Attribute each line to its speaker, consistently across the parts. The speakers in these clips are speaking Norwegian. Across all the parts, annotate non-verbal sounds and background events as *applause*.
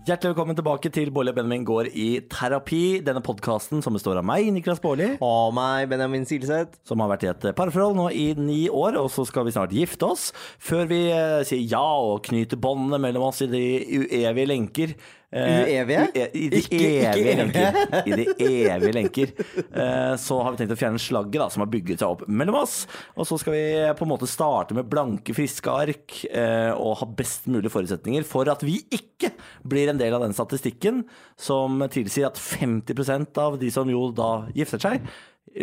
Speaker 1: Hjertelig velkommen tilbake til Bårli og Benjamin går i terapi. Denne podkasten som består av meg, Niklas Bårli,
Speaker 2: Og meg, Benjamin Silseth.
Speaker 1: som har vært i et parforhold nå i ni år, og så skal vi snart gifte oss. Før vi eh, sier ja og knyter båndene mellom oss i de uevige lenker. eh,
Speaker 2: Uevige?
Speaker 1: ue- I de
Speaker 2: Ikke- ikke
Speaker 1: evige
Speaker 2: evige.
Speaker 1: lenker. I de evige lenker. Eh, Så har vi tenkt å fjerne slagget da, som har bygget seg opp mellom oss. Og så skal vi eh, på en måte starte med blanke, friske ark eh, og ha best mulig forutsetninger for at vi ikke blir en del av den statistikken som tilsier at 50 av de som jo da gifter seg,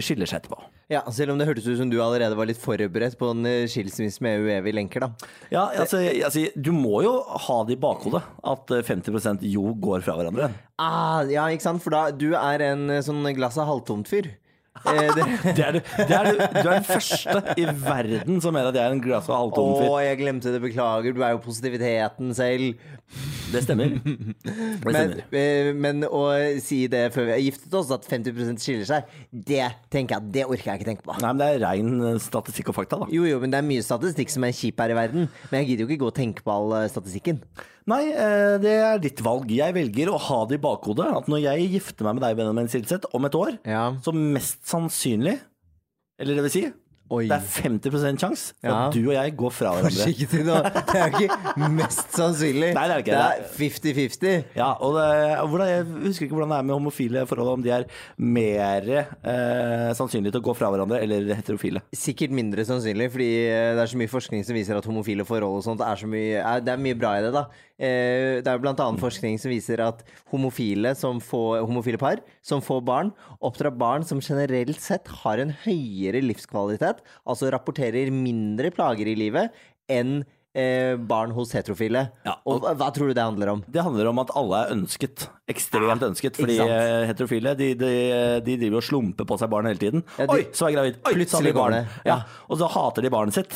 Speaker 1: skiller seg etterpå.
Speaker 2: Ja, selv om det hørtes ut som du allerede var litt forberedt på en eh, skilsmisse med uevige lenker, da.
Speaker 1: Ja, altså, jeg, altså, du må jo ha det i bakhodet at eh, 50 jo går fra hverandre.
Speaker 2: Ah, ja, ikke sant? For da, du er en eh, sånn glasset halvtomt fyr. *laughs* Eh, det-
Speaker 1: Det er du, det er du, du er den første i verden som mener at jeg er en glass og
Speaker 2: Å,
Speaker 1: halvtom fyr.
Speaker 2: jeg glemte det, beklager. Du er jo positiviteten selv.
Speaker 1: Det
Speaker 2: *laughs*
Speaker 1: stemmer. Det
Speaker 2: Men,
Speaker 1: stemmer.
Speaker 2: eh, men å si det før vi har giftet oss, at 50 skiller seg, det tenker jeg, det orker jeg ikke tenke på.
Speaker 1: Nei, men det er rein eh, statistikk og fakta, da.
Speaker 2: Jo, jo, men det er mye statistikk som er kjip her i verden. Men jeg gidder jo ikke gå og tenke på all eh, statistikken.
Speaker 1: Nei, eh, det er ditt valg. Jeg velger å ha det i bakhodet at når jeg gifter meg med deg, Benjamin Silseth, om et år,
Speaker 2: Ja.
Speaker 1: så mest sannsynlig, eller det vil si,
Speaker 2: Oi.
Speaker 1: det er 50 sjanse for
Speaker 2: Ja.
Speaker 1: at du og jeg går fra hverandre.
Speaker 2: Forsiktig nå. Det er ikke mest sannsynlig.
Speaker 1: Nei, det er ikke
Speaker 2: det.
Speaker 1: det.
Speaker 2: er 50-50.
Speaker 1: Ja, og det, og hvordan, Jeg husker ikke hvordan det er med homofile forhold, om de er mer eh, sannsynlig til å gå fra hverandre eller heterofile.
Speaker 2: Sikkert mindre sannsynlig, fordi eh, det er så mye forskning som viser at homofile forhold og sånt er så mye er, Det er mye bra i det, da. Eh, Det er jo blant annet forskning som viser at homofile, som får, homofile par som får barn, oppdrar barn som generelt sett har en høyere livskvalitet, altså rapporterer mindre plager i livet, enn eh, barn hos heterofile.
Speaker 1: Ja,
Speaker 2: og, hva- hva tror du det handler om?
Speaker 1: Det handler om at alle er ønsket. Ekstremt ønsket. Fordi
Speaker 2: sant?
Speaker 1: eh, heterofile de, de, de driver og slumper på seg barn hele tiden.
Speaker 2: Ja, de-
Speaker 1: Oi, så er jeg gravid! Oi, så har
Speaker 2: Plutselig
Speaker 1: vi barn!
Speaker 2: går det.
Speaker 1: Ja. Og så hater de barnet sitt.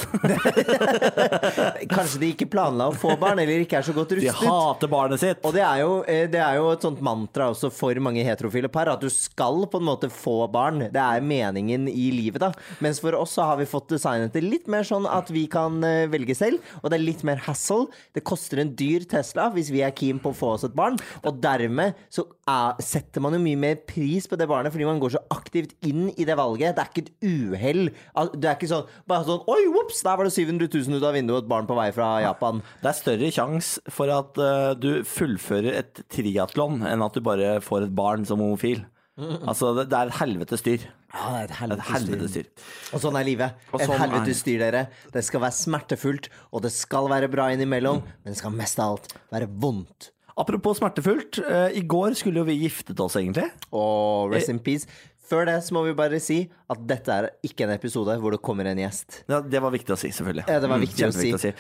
Speaker 1: *laughs*
Speaker 2: Kanskje de ikke planla å få barn, eller ikke er så godt
Speaker 1: De
Speaker 2: rustet?
Speaker 1: hater barnet sitt!
Speaker 2: Og det er, jo, eh, det er jo et sånt mantra også for mange heterofile par, at du skal på en måte få barn. Det er meningen i livet, da. Mens for oss så har vi fått designet det litt mer sånn at vi kan eh, velge selv, og det er litt mer hassle. Det koster en dyr Tesla hvis vi er keen på å få oss et barn, og dermed så er, setter man jo mye mer pris på det barnet fordi man går så aktivt inn i det valget. Det er ikke et uhell. Al- Det er ikke sånn bare sånn Oi, ops, der var det 700 000 ut av vinduet, et barn på vei fra Japan.
Speaker 1: Det er større sjanse for at eh, du fullfører et triatlon enn at du bare får et barn som homofil.
Speaker 2: Mm.
Speaker 1: Altså, det, det er et helvetes styr.
Speaker 2: Ja, det er et
Speaker 1: Et helvetes styr.
Speaker 2: Og sånn er livet.
Speaker 1: Og
Speaker 2: Et
Speaker 1: sånn er det.
Speaker 2: helvetes styr, dere. Det skal være smertefullt, og det skal være bra innimellom, men det skal mest av alt være vondt.
Speaker 1: Apropos smertefullt, eh, i går skulle jo vi giftet oss egentlig.
Speaker 2: Og
Speaker 1: Eh.
Speaker 2: rest in peace. Før det så må vi bare si at dette er ikke en episode hvor det kommer en gjest.
Speaker 1: Ja, det var viktig å si, selvfølgelig. Mm,
Speaker 2: Ja, det var viktig å
Speaker 1: kjempeviktig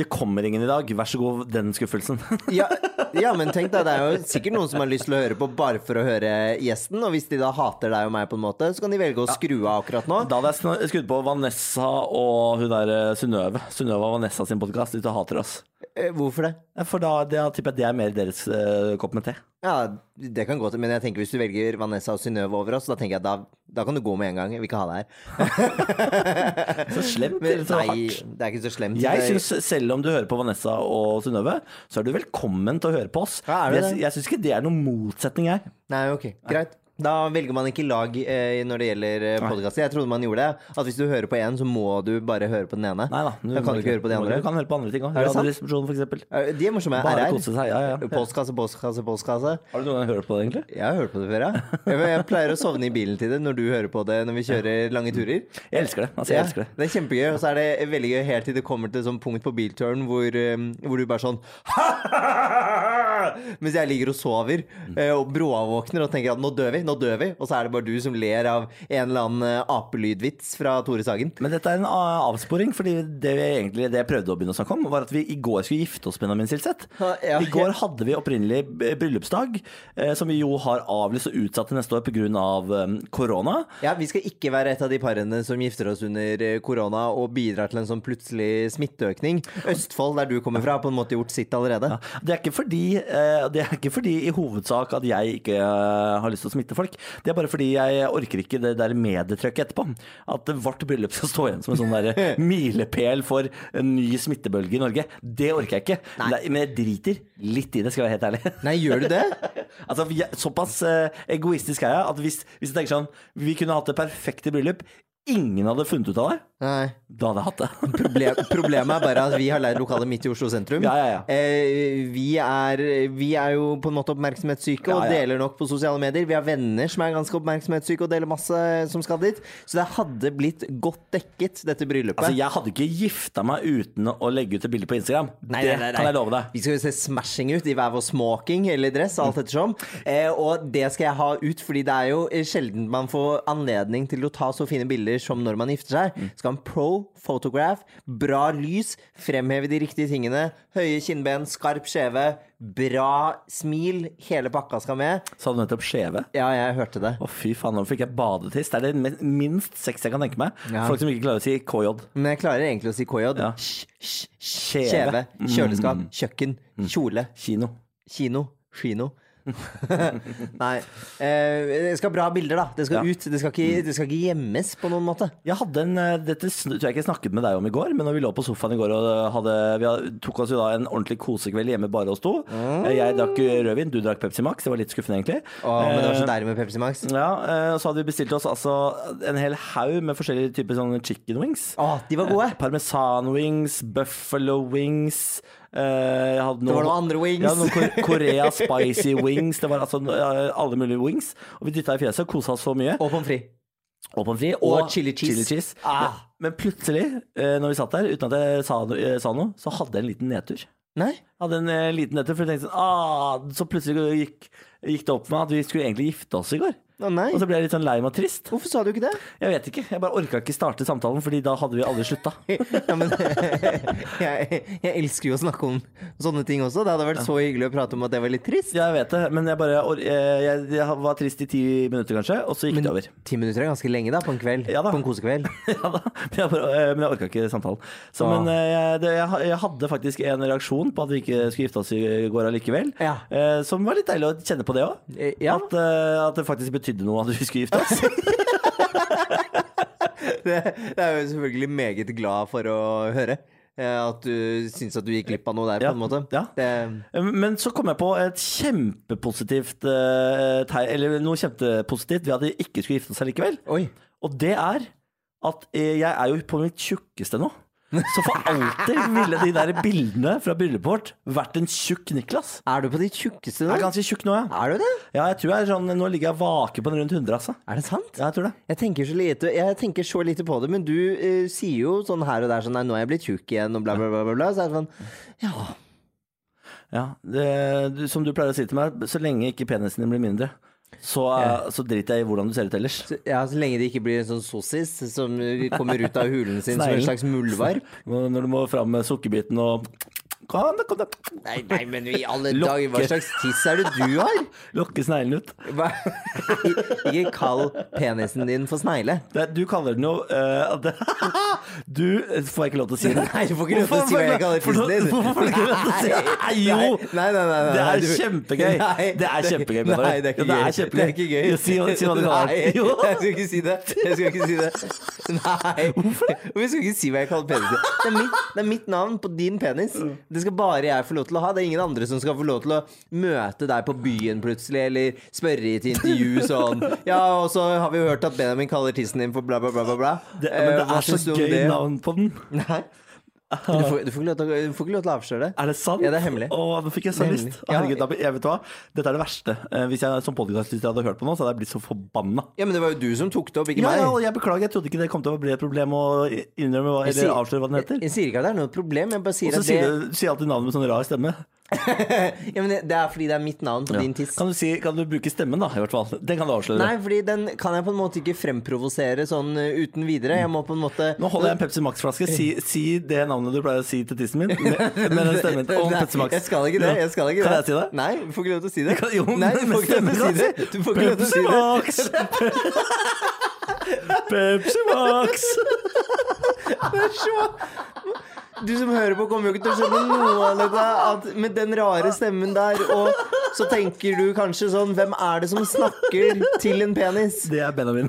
Speaker 1: Det kommer ingen i dag, vær så god den skuffelsen. *laughs*
Speaker 2: Ja, ja, men tenk deg, det er jo sikkert noen som har lyst til å høre på bare for å høre gjesten, og hvis de da hater deg og meg på en måte, så kan de velge å skru av akkurat nå.
Speaker 1: Da hadde jeg snu- skrudd på Vanessa og hun der eh, Synnøve. Synnøve og Vanessa sin podkast, de hater oss.
Speaker 2: Eh, Hvorfor det?
Speaker 1: Ja, For da, det, da tipper jeg det er mer deres eh, kopp med te.
Speaker 2: Ja, det kan gå til, men jeg tenker hvis du velger Vanessa og Synnøve over oss, da tenker jeg da, da kan du gå med en gang. Jeg vil ikke ha deg her.
Speaker 1: Så slemt.
Speaker 2: Men,
Speaker 1: eller så
Speaker 2: nei,
Speaker 1: hardt.
Speaker 2: det er ikke så slemt.
Speaker 1: Jeg
Speaker 2: Det-
Speaker 1: synes, Selv om du hører på Vanessa og Synnøve, så er du velkommen til å høre på oss.
Speaker 2: Ja, er du
Speaker 1: jeg
Speaker 2: det?
Speaker 1: jeg syns ikke det er noen motsetning, jeg.
Speaker 2: Nei, ok, greit. Da velger man ikke lag eh, når det gjelder eh, podkaster. Jeg trodde man gjorde det. At hvis du hører på én, så må du bare høre på den ene.
Speaker 1: Nei da.
Speaker 2: da kan du ikke høre på de andre.
Speaker 1: Du kan høre på andre ting òg.
Speaker 2: Er det sant?
Speaker 1: Radioresepsjonen, f.eks.
Speaker 2: Eh, De er morsomme.
Speaker 1: Bare
Speaker 2: RR.
Speaker 1: kose seg, ja, ja.
Speaker 2: Postkasse, postkasse, postkasse.
Speaker 1: Har du noen gang hørt på det, egentlig?
Speaker 2: Jeg har hørt på det
Speaker 1: *laughs*
Speaker 2: før, ja. Jeg, jeg pleier å sovne i bilen til det når du hører på det når vi kjører lange turer.
Speaker 1: Jeg elsker det. Altså, jeg elsker det.
Speaker 2: Ja, det er kjempegøy, og så er det veldig gøy helt til det kommer til sånn punkt på bilturen hvor, eh, hvor du bare sånn *laughs* Mens jeg ligger og sover eh, og bråvåkner og tenker at nå dør vi, nå dør vi. Og så er det bare du som ler av en eller annen eh, apelydvits fra Tore Sagen.
Speaker 1: Men dette er en a- avsporing, fordi det, vi egentlig, det jeg prøvde å begynne å snakke om, var at vi i går skulle gifte oss, Benjamin Silseth.
Speaker 2: Ja, ja.
Speaker 1: I går hadde vi opprinnelig b- bryllupsdag, eh, som vi jo har avlyst og utsatt til neste år pga. eh, korona.
Speaker 2: Ja, Vi skal ikke være et av de parene som gifter oss under eh, korona og bidrar til en sånn plutselig smitteøkning. Østfold, der du kommer fra, har på en måte gjort sitt allerede.
Speaker 1: Det er, ikke fordi, eh, det er ikke fordi i hovedsak at jeg ikke eh, har lyst til å smitte til folk. Det er bare fordi jeg orker ikke det der medietrykket etterpå. At vårt bryllup skal stå igjen som en sånn
Speaker 2: *laughs*
Speaker 1: der milepæl for en ny smittebølge i Norge. Det orker jeg ikke. Men det- Men jeg driter litt i det, skal jeg være helt ærlig. *laughs*
Speaker 2: Nei, gjør du det?
Speaker 1: Altså, vi er- Såpass eh, egoistisk er jeg at hvis, hvis jeg tenker sånn Vi kunne hatt det perfekte bryllup. Ingen hadde funnet ut av det.
Speaker 2: Nei.
Speaker 1: Da hadde jeg
Speaker 2: *laughs*
Speaker 1: hatt det.
Speaker 2: Proble- problemet er bare at vi har leid lokale midt i Oslo sentrum.
Speaker 1: Ja, ja, ja.
Speaker 2: Eh, vi, er, vi er jo på en måte oppmerksomhetssyke
Speaker 1: Ja,
Speaker 2: og
Speaker 1: ja.
Speaker 2: deler nok på sosiale medier. Vi har venner som er ganske oppmerksomhetssyke og deler masse som skal dit. Så det hadde blitt godt dekket, dette bryllupet.
Speaker 1: Altså, Jeg hadde ikke gifta meg uten å legge ut et bilde på Instagram.
Speaker 2: Nei,
Speaker 1: det
Speaker 2: nei, nei, nei.
Speaker 1: kan jeg love deg. Mm.
Speaker 2: Vi skal jo se smashing ut i hver vår smoking eller dress, alt ettersom. Eh, og det skal jeg ha ut, fordi det er jo eh, sjelden man får anledning til å ta så fine bilder som når man gifter seg.
Speaker 1: Mm.
Speaker 2: Skal ha en pro photograph, bra lys, fremheve de riktige tingene. Høye kinnben, skarp skjeve, bra smil. Hele pakka skal med.
Speaker 1: Sa du nettopp skjeve?
Speaker 2: Ja, jeg hørte det.
Speaker 1: Å, fy faen, nå fikk jeg badetiss. Det er det me- minst sexy jeg kan tenke meg.
Speaker 2: Ja.
Speaker 1: Folk som ikke klarer å si KJ.
Speaker 2: Men jeg klarer egentlig å si KJ.
Speaker 1: Ja.
Speaker 2: Sj, sj,
Speaker 1: Skjeve. Mm.
Speaker 2: Kjeve, kjøleskap, kjøkken, kjole.
Speaker 1: Kino.
Speaker 2: Kino. *laughs* Kino. Nei. Eh, det skal bra bilder, da. Det skal
Speaker 1: Ja.
Speaker 2: ut. Det skal, ikke, det skal ikke gjemmes på noen måte.
Speaker 1: Jeg hadde en, eh, Dette sn- tror jeg ikke jeg snakket med deg om i går, men når vi lå på sofaen i går og eh, hadde, vi hadde, tok oss jo da en ordentlig kosekveld hjemme bare oss to.
Speaker 2: Mm.
Speaker 1: Eh, Jeg drakk rødvin, du drakk Pepsi Max. Det var litt skuffende, egentlig.
Speaker 2: Å, men det var så
Speaker 1: Eh,
Speaker 2: deilig med Pepsi Max.
Speaker 1: ja, eh, Så hadde vi bestilt oss altså en hel haug med forskjellige typer sånne chicken wings.
Speaker 2: Å, de var gode!
Speaker 1: Parmesan wings, buffalo wings eh, jeg hadde
Speaker 2: Det var noen andre wings.
Speaker 1: Ja, noen Kor- Korea spicy wings. Det var altså eh, alle mulige wings. Og vi dytta i fjeset og kosa oss så mye.
Speaker 2: *laughs* Og pommes frites.
Speaker 1: Og pommes frites.
Speaker 2: Og chili cheese. Ah.
Speaker 1: Men, men plutselig, eh, når vi satt der, uten at jeg sa, no- eh, sa noe, så hadde jeg en liten nedtur.
Speaker 2: Nei?
Speaker 1: Hadde en eh, liten nedtur, for jeg tenkte sånn ah, Så plutselig gikk, gikk det opp for meg at vi skulle egentlig gifte oss i går.
Speaker 2: Å, nei.
Speaker 1: Og så ble jeg litt sånn lei meg og trist.
Speaker 2: Hvorfor sa du ikke det?
Speaker 1: Jeg vet ikke. Jeg bare orka ikke starte samtalen, Fordi da hadde vi aldri slutta.
Speaker 2: Ja, men, *laughs* jeg, jeg elsker jo å snakke om sånne ting også. Det hadde vært så hyggelig å prate om at det var litt trist.
Speaker 1: Jeg vet det, men jeg bare or- eh, jeg, jeg var trist i ti minutter kanskje, og så gikk det over.
Speaker 2: Ti minutter er ganske lenge, da, på en kveld.
Speaker 1: Ja da.
Speaker 2: På en kosekveld.
Speaker 1: *laughs* ja da, men jeg, bare- eh, men jeg orka ikke samtalen. Så,
Speaker 2: Ah.
Speaker 1: Men eh, jeg, det, jeg, ha- jeg hadde faktisk en reaksjon på at vi ikke skulle gifte oss i går allikevel.
Speaker 2: Ja.
Speaker 1: eh, Som var litt deilig å kjenne på det òg.
Speaker 2: Eh, Ja,
Speaker 1: At, eh, at det faktisk betydde noe at vi skulle gifte
Speaker 2: *laughs*
Speaker 1: oss.
Speaker 2: Det, det er jo selvfølgelig meget glad for å høre. eh, At du syns at du gikk glipp av noe der,
Speaker 1: Ja,
Speaker 2: på en måte.
Speaker 1: ja.
Speaker 2: Det,
Speaker 1: Eh, Men så kom jeg på et kjempepositivt eh, tegn, eller noe kjempepositivt ved at vi ikke skulle gifte oss allikevel.
Speaker 2: oi.
Speaker 1: Og det er at eh, jeg er jo på mitt tjukkeste nå. Så for alltid ville de der bildene fra bryllupet vårt vært en tjukk Niklas.
Speaker 2: Er du på ditt tjukkeste
Speaker 1: Jeg er
Speaker 2: nå?
Speaker 1: ganske tjukk nå, ja.
Speaker 2: Er du det?
Speaker 1: ja jeg tror jeg er sånn, nå ligger jeg vake på en rundt 100, altså.
Speaker 2: Er det sant?
Speaker 1: Ja, jeg tror det.
Speaker 2: Jeg tenker, så lite, jeg tenker så lite på det, men du eh, sier jo sånn her og der sånn Nei, nå er jeg blitt tjukk igjen, og bla, bla, bla. bla, bla. Så er det sånn Ja.
Speaker 1: Ja, det, du, som du pleier å si til meg, så lenge ikke penisen din blir mindre, så, eh, så driter jeg i hvordan du ser ut ellers.
Speaker 2: Så, ja, så lenge det ikke blir en sånn sossis som eh, kommer ut av hulen sin som en
Speaker 1: Sneglen.
Speaker 2: slags muldvarp.
Speaker 1: Når når du må fram med sukkerbiten og Kom, da, kom, da.
Speaker 2: *laughs* Nei, nei, men i alle
Speaker 1: Lokke.
Speaker 2: dager, hva slags tiss er det du har?
Speaker 1: Lokke sneglen ut.
Speaker 2: *laughs* Hva? Ikke kall penisen din for snegle.
Speaker 1: Det, du kaller den jo eh, det, *laughs* Du eh, får jeg ikke lov til å si det.
Speaker 2: *laughs* Nei, du får ikke lov til å si hva jeg kaller
Speaker 1: Hvorfor-
Speaker 2: tissen din.
Speaker 1: Hvorfor får du ikke lov til å si det? Nei, jo!
Speaker 2: Nei, nei, nei, nei,
Speaker 1: Det
Speaker 2: nei,
Speaker 1: er
Speaker 2: du-
Speaker 1: kjempegøy.
Speaker 2: Nei,
Speaker 1: Det er kjempegøy. Petter.
Speaker 2: Nei, det er
Speaker 1: Ja,
Speaker 2: ikke gøy.
Speaker 1: kjempegøy.
Speaker 2: Det er ikke gøy.
Speaker 1: Jo, si, hva- si hva du kaller
Speaker 2: Nei,
Speaker 1: den. Jo.
Speaker 2: jeg skal ikke si det. Jeg skal ikke si det. Nei. Hvorfor det? Jeg skal ikke si hva jeg kaller penis. Det er, mitt, det er mitt navn på din penis. Det skal bare jeg få lov til å ha. Det er ingen andre som skal få lov til å møte deg på byen plutselig, eller spørre i et intervju sånn Ja, og så har vi jo hørt at Benjamin kaller tissen din for bla, bla, bla, bla, bla.
Speaker 1: Det,
Speaker 2: Eh,
Speaker 1: men det
Speaker 2: hva
Speaker 1: er så
Speaker 2: syns du om
Speaker 1: gøy
Speaker 2: det?
Speaker 1: navn på den.
Speaker 2: Nei. Du får,
Speaker 1: *laughs*
Speaker 2: du, får ikke lov til, å- du får ikke lov til å avsløre det.
Speaker 1: Er det sant?
Speaker 2: Ja, det er hemmelig.
Speaker 1: Å, nå fikk jeg så
Speaker 2: Det er
Speaker 1: lyst.
Speaker 2: hemmelig.
Speaker 1: Å, Herregud, da- jeg vet hva. Dette er det verste. Eh, Hvis jeg som podkastlytter hadde hørt på nå, så hadde jeg blitt så forbanna.
Speaker 2: Ja, men det var jo du som tok det opp, ikke
Speaker 1: Ja,
Speaker 2: meg.
Speaker 1: ja, og jeg beklager, jeg trodde ikke det kom til å bli et problem å innrømme hva,
Speaker 2: Jeg
Speaker 1: eller
Speaker 2: sier-
Speaker 1: avsløre hva den heter.
Speaker 2: Jeg, jeg sier ikke at det er noe problem, jeg bare
Speaker 1: Og
Speaker 2: sier
Speaker 1: så
Speaker 2: at det,
Speaker 1: sier du sier alltid navnet med sånn rar stemme.
Speaker 2: ja, men det, det er fordi det er mitt navn på
Speaker 1: Ja.
Speaker 2: din tiss.
Speaker 1: Kan, du si, kan du bruke stemmen, da? I hvert fall. Den kan du avsløre.
Speaker 2: Nei, fordi den kan jeg på en måte ikke fremprovosere sånn uh, uten videre. Jeg må på en måte
Speaker 1: Nå holder jeg en Pepsi Max-flaske. Si, si det navnet du pleier å si til tissen
Speaker 2: *laughs*
Speaker 1: min. Med, med den stemmen. Og en
Speaker 2: Nei,
Speaker 1: Pepsi Max.
Speaker 2: Jeg skal ikke det. Jeg skal ikke
Speaker 1: Kan
Speaker 2: det.
Speaker 1: jeg si det?
Speaker 2: Nei, du får ikke lov til å si det.
Speaker 1: Kan- jo,
Speaker 2: Nei, du
Speaker 1: men
Speaker 2: får ikke lov til å si
Speaker 1: stemmen
Speaker 2: det.
Speaker 1: kan
Speaker 2: Du får ikke lov til å si det.
Speaker 1: Pepsi Max! Pepsi Max!
Speaker 2: Det er så Du som hører på, kommer jo ikke til å skjønne noe av dette. At med den rare stemmen der og så tenker du kanskje sånn Hvem er det som snakker til en penis?
Speaker 1: Det er Benjamin.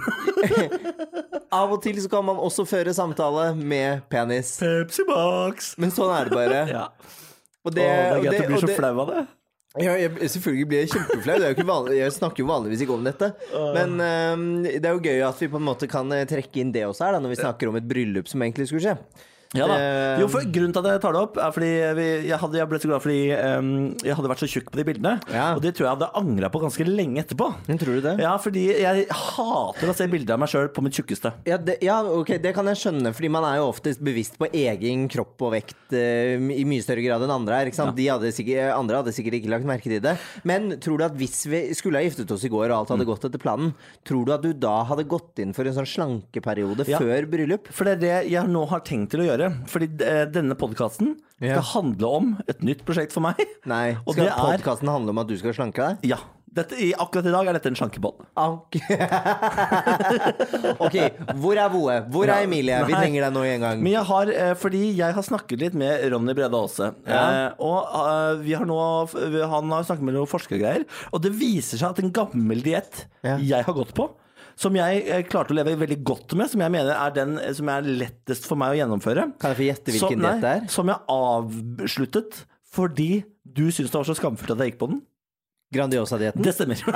Speaker 2: Av og til så kan man også føre samtale med penis.
Speaker 1: Pepsi Max.
Speaker 2: Men sånn er det bare.
Speaker 1: Ja.
Speaker 2: Og
Speaker 1: Å, det er
Speaker 2: og
Speaker 1: greit å bli
Speaker 2: og
Speaker 1: så flau av det.
Speaker 2: Ja, jeg, selvfølgelig blir jeg kjempeflau. Det er jo ikke vanlig, jeg snakker jo vanligvis ikke om dette. Men ehm, det er jo gøy at vi på en måte kan eh, trekke inn det også her, da, når vi snakker om et bryllup som egentlig skulle skje.
Speaker 1: Ja da.
Speaker 2: Eh,
Speaker 1: Jo, for Grunnen til at jeg tar det opp, er fordi vi, jeg, hadde, jeg ble så glad fordi ehm, jeg hadde vært så tjukk på de bildene.
Speaker 2: Ja.
Speaker 1: Og det tror jeg jeg hadde angra på ganske lenge etterpå.
Speaker 2: Men tror du det?
Speaker 1: Ja, fordi jeg hater å se bilder av meg sjøl på mitt tjukkeste.
Speaker 2: Ja, det, ja, ok, det kan jeg skjønne, fordi man er jo oftest bevisst på egen kropp og vekt eh, i mye større grad enn andre er. ikke sant? De hadde sikkert, eh, andre hadde sikkert ikke lagt merke til det. Men tror du at hvis vi skulle ha giftet oss i går og alt
Speaker 1: Mm.
Speaker 2: hadde gått etter planen, tror du at du da hadde gått inn for en sånn slankeperiode
Speaker 1: Ja.
Speaker 2: før bryllup?
Speaker 1: For det er det jeg nå har tenkt til å gjøre. Fordi eh, denne podkasten
Speaker 2: Ja.
Speaker 1: skal handle om et nytt prosjekt for meg.
Speaker 2: Nei.
Speaker 1: Og
Speaker 2: Skal
Speaker 1: det er-
Speaker 2: podkasten handle om at du skal slanke deg?
Speaker 1: Ja. Dette, i, akkurat i dag er dette en slankebånd.
Speaker 2: Ah, Ok, *laughs* Ok, hvor er Voe? Hvor er Emilie? Vi
Speaker 1: Nei.
Speaker 2: trenger deg nå i en gang.
Speaker 1: Men jeg har, eh, fordi jeg har snakket litt med Ronny Brede Aase.
Speaker 2: Ja.
Speaker 1: Eh, og eh, vi har nå, han har snakket med noen forskergreier. Og det viser seg at en gammel diett
Speaker 2: Ja.
Speaker 1: jeg har gått på, som jeg eh, klarte å leve veldig godt med, som jeg mener er den eh, som er lettest for meg å gjennomføre
Speaker 2: Kan jeg få gjette hvilken
Speaker 1: Som-
Speaker 2: diett det er?
Speaker 1: Som jeg avsluttet fordi du syntes det var så skamfullt at jeg gikk på den.
Speaker 2: Grandiosa-dietten?
Speaker 1: Det
Speaker 2: *laughs*
Speaker 1: stemmer. den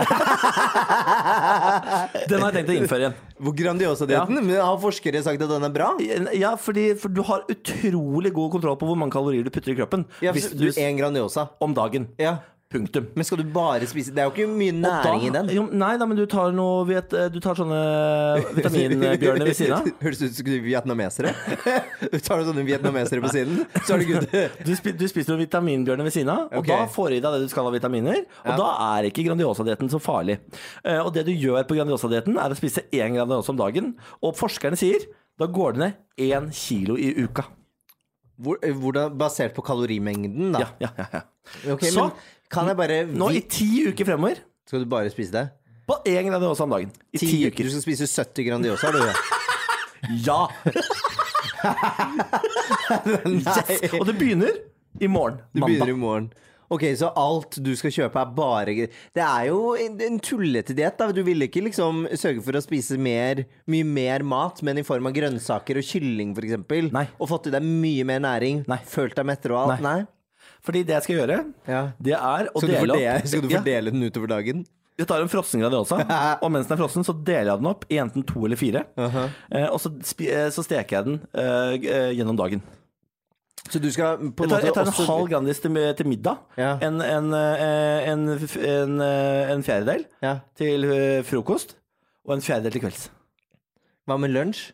Speaker 1: har jeg tenkt å innføre igjen.
Speaker 2: Hvor Grandiosa-dietten? Men Har forskere sagt at den er bra?
Speaker 1: Ja, fordi for du har utrolig god kontroll på hvor mange kalorier du putter i kroppen.
Speaker 2: Ja,
Speaker 1: hvis
Speaker 2: hvis
Speaker 1: du,
Speaker 2: En Grandiosa.
Speaker 1: om dagen.
Speaker 2: Ja.
Speaker 1: Punktum.
Speaker 2: Men skal du bare spise Det er jo ikke mye næring i
Speaker 1: Da-
Speaker 2: *laughs* den.
Speaker 1: Jo, nei da, men du tar noe vet, eh, Du tar sånne vitaminbjørner ved siden av.
Speaker 2: *laughs* Høres ut som *laughs* vietnamesere. Du tar noen sånne vietnamesere på siden, så er det *laughs* good.
Speaker 1: Du, spi, du spiser noen vitaminbjørner ved siden av, og
Speaker 2: Ok.
Speaker 1: da får du i deg det du skal av vitaminer. Og da er ikke Grandiosa-dietten så farlig. Eh, og det du gjør på Grandiosa-dietten, er å spise én Grandiosa om dagen. Og forskerne sier da går det ned én kilo i uka.
Speaker 2: Hvor, hvordan, basert på kalorimengden,
Speaker 1: Ja,
Speaker 2: da.
Speaker 1: ja, ja, ja.
Speaker 2: Ok,
Speaker 1: Så-
Speaker 2: men kan jeg bare
Speaker 1: Nå i ti uker fremover
Speaker 2: Skal du bare spise det?
Speaker 1: på én Grandiosa om dagen. I ti, uker.
Speaker 2: Du skal spise 70 Grandiosa, *laughs* du.
Speaker 1: Ja!
Speaker 2: Yes.
Speaker 1: Og det begynner i morgen.
Speaker 2: Du begynner
Speaker 1: Mandag.
Speaker 2: i morgen. Ok, Så alt du skal kjøpe, er bare gre- Det er jo en, en tullete diett. Du ville ikke liksom sørge for å spise mer, mye mer mat, men i form av grønnsaker og kylling f.eks.
Speaker 1: Nei.
Speaker 2: Og fått i deg mye mer næring.
Speaker 1: Nei.
Speaker 2: Følt deg mettere og alt.
Speaker 1: Nei.
Speaker 2: Nei.
Speaker 1: Fordi det jeg skal gjøre,
Speaker 2: Ja.
Speaker 1: det er å
Speaker 2: Skal, du
Speaker 1: dele
Speaker 2: fordele,
Speaker 1: opp
Speaker 2: skal du
Speaker 1: Ja.
Speaker 2: fordele den utover dagen?
Speaker 1: Jeg tar en frossen
Speaker 2: *laughs*
Speaker 1: Grandiosa, og mens den er frossen, så deler jeg den opp i enten to eller fire. eh, og så, spi- eh, så steker jeg den eh, g- eh, gjennom dagen.
Speaker 2: Så du skal på
Speaker 1: Jeg
Speaker 2: en
Speaker 1: tar, jeg
Speaker 2: måte
Speaker 1: tar en
Speaker 2: også
Speaker 1: halv Grandis til, mi- til middag.
Speaker 2: Ja.
Speaker 1: En, en, eh, en, f- en, eh, en fjerdedel
Speaker 2: ja.
Speaker 1: til eh, frokost, og en fjerdedel til kvelds.
Speaker 2: Hva med lunsj?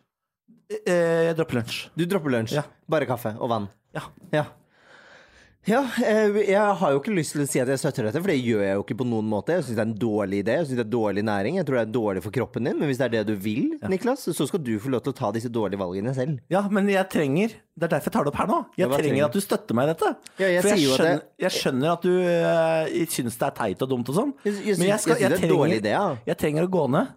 Speaker 1: Eh, jeg dropper lunsj.
Speaker 2: Du dropper lunsj.
Speaker 1: Ja.
Speaker 2: Bare kaffe og vann.
Speaker 1: Ja.
Speaker 2: Ja. Ja, eh, jeg har jo ikke lyst til å si at jeg støtter dette, for det gjør jeg jo ikke på noen måte. Jeg syns det er en dårlig idé, jeg synes det er dårlig næring, jeg tror det er dårlig for kroppen din. Men hvis det er det du vil, Niklas, så skal du få lov til å ta disse dårlige valgene selv.
Speaker 1: ja, men jeg trenger Det er derfor jeg tar det opp her nå. Jeg
Speaker 2: Ja, hva
Speaker 1: trenger,
Speaker 2: trenger du?
Speaker 1: at du støtter meg i dette.
Speaker 2: Ja, jeg
Speaker 1: For jeg
Speaker 2: sier jo at
Speaker 1: skjønner,
Speaker 2: jeg-
Speaker 1: jeg skjønner at du eh, syns det er teit og dumt og sånn,
Speaker 2: Jeg, jeg,
Speaker 1: men jeg,
Speaker 2: synes-
Speaker 1: skal, jeg,
Speaker 2: jeg synes det er en dårlig idé,
Speaker 1: trenger,
Speaker 2: ja.
Speaker 1: jeg trenger å gå ned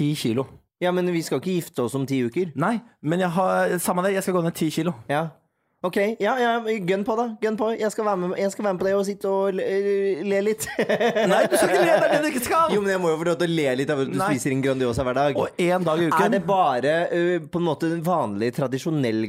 Speaker 1: ti kilo.
Speaker 2: Ja, men vi skal ikke gifte oss om ti uker.
Speaker 1: Nei, men jeg har Samme det, jeg skal gå ned ti kilo.
Speaker 2: Ja. Ok, ja, ja, gønn på, da. Gønn på. Jeg skal være med, jeg skal være med på det og sitte og le, le litt. *laughs*
Speaker 1: Nei, du skal ikke le, det er det du ikke skal!
Speaker 2: jo, men jeg må jo få lov til å le litt av at du
Speaker 1: Nei.
Speaker 2: spiser en Grandiosa hver dag.
Speaker 1: Og én dag i
Speaker 2: Er
Speaker 1: uken.
Speaker 2: det bare ø, på en måte vanlig, tradisjonell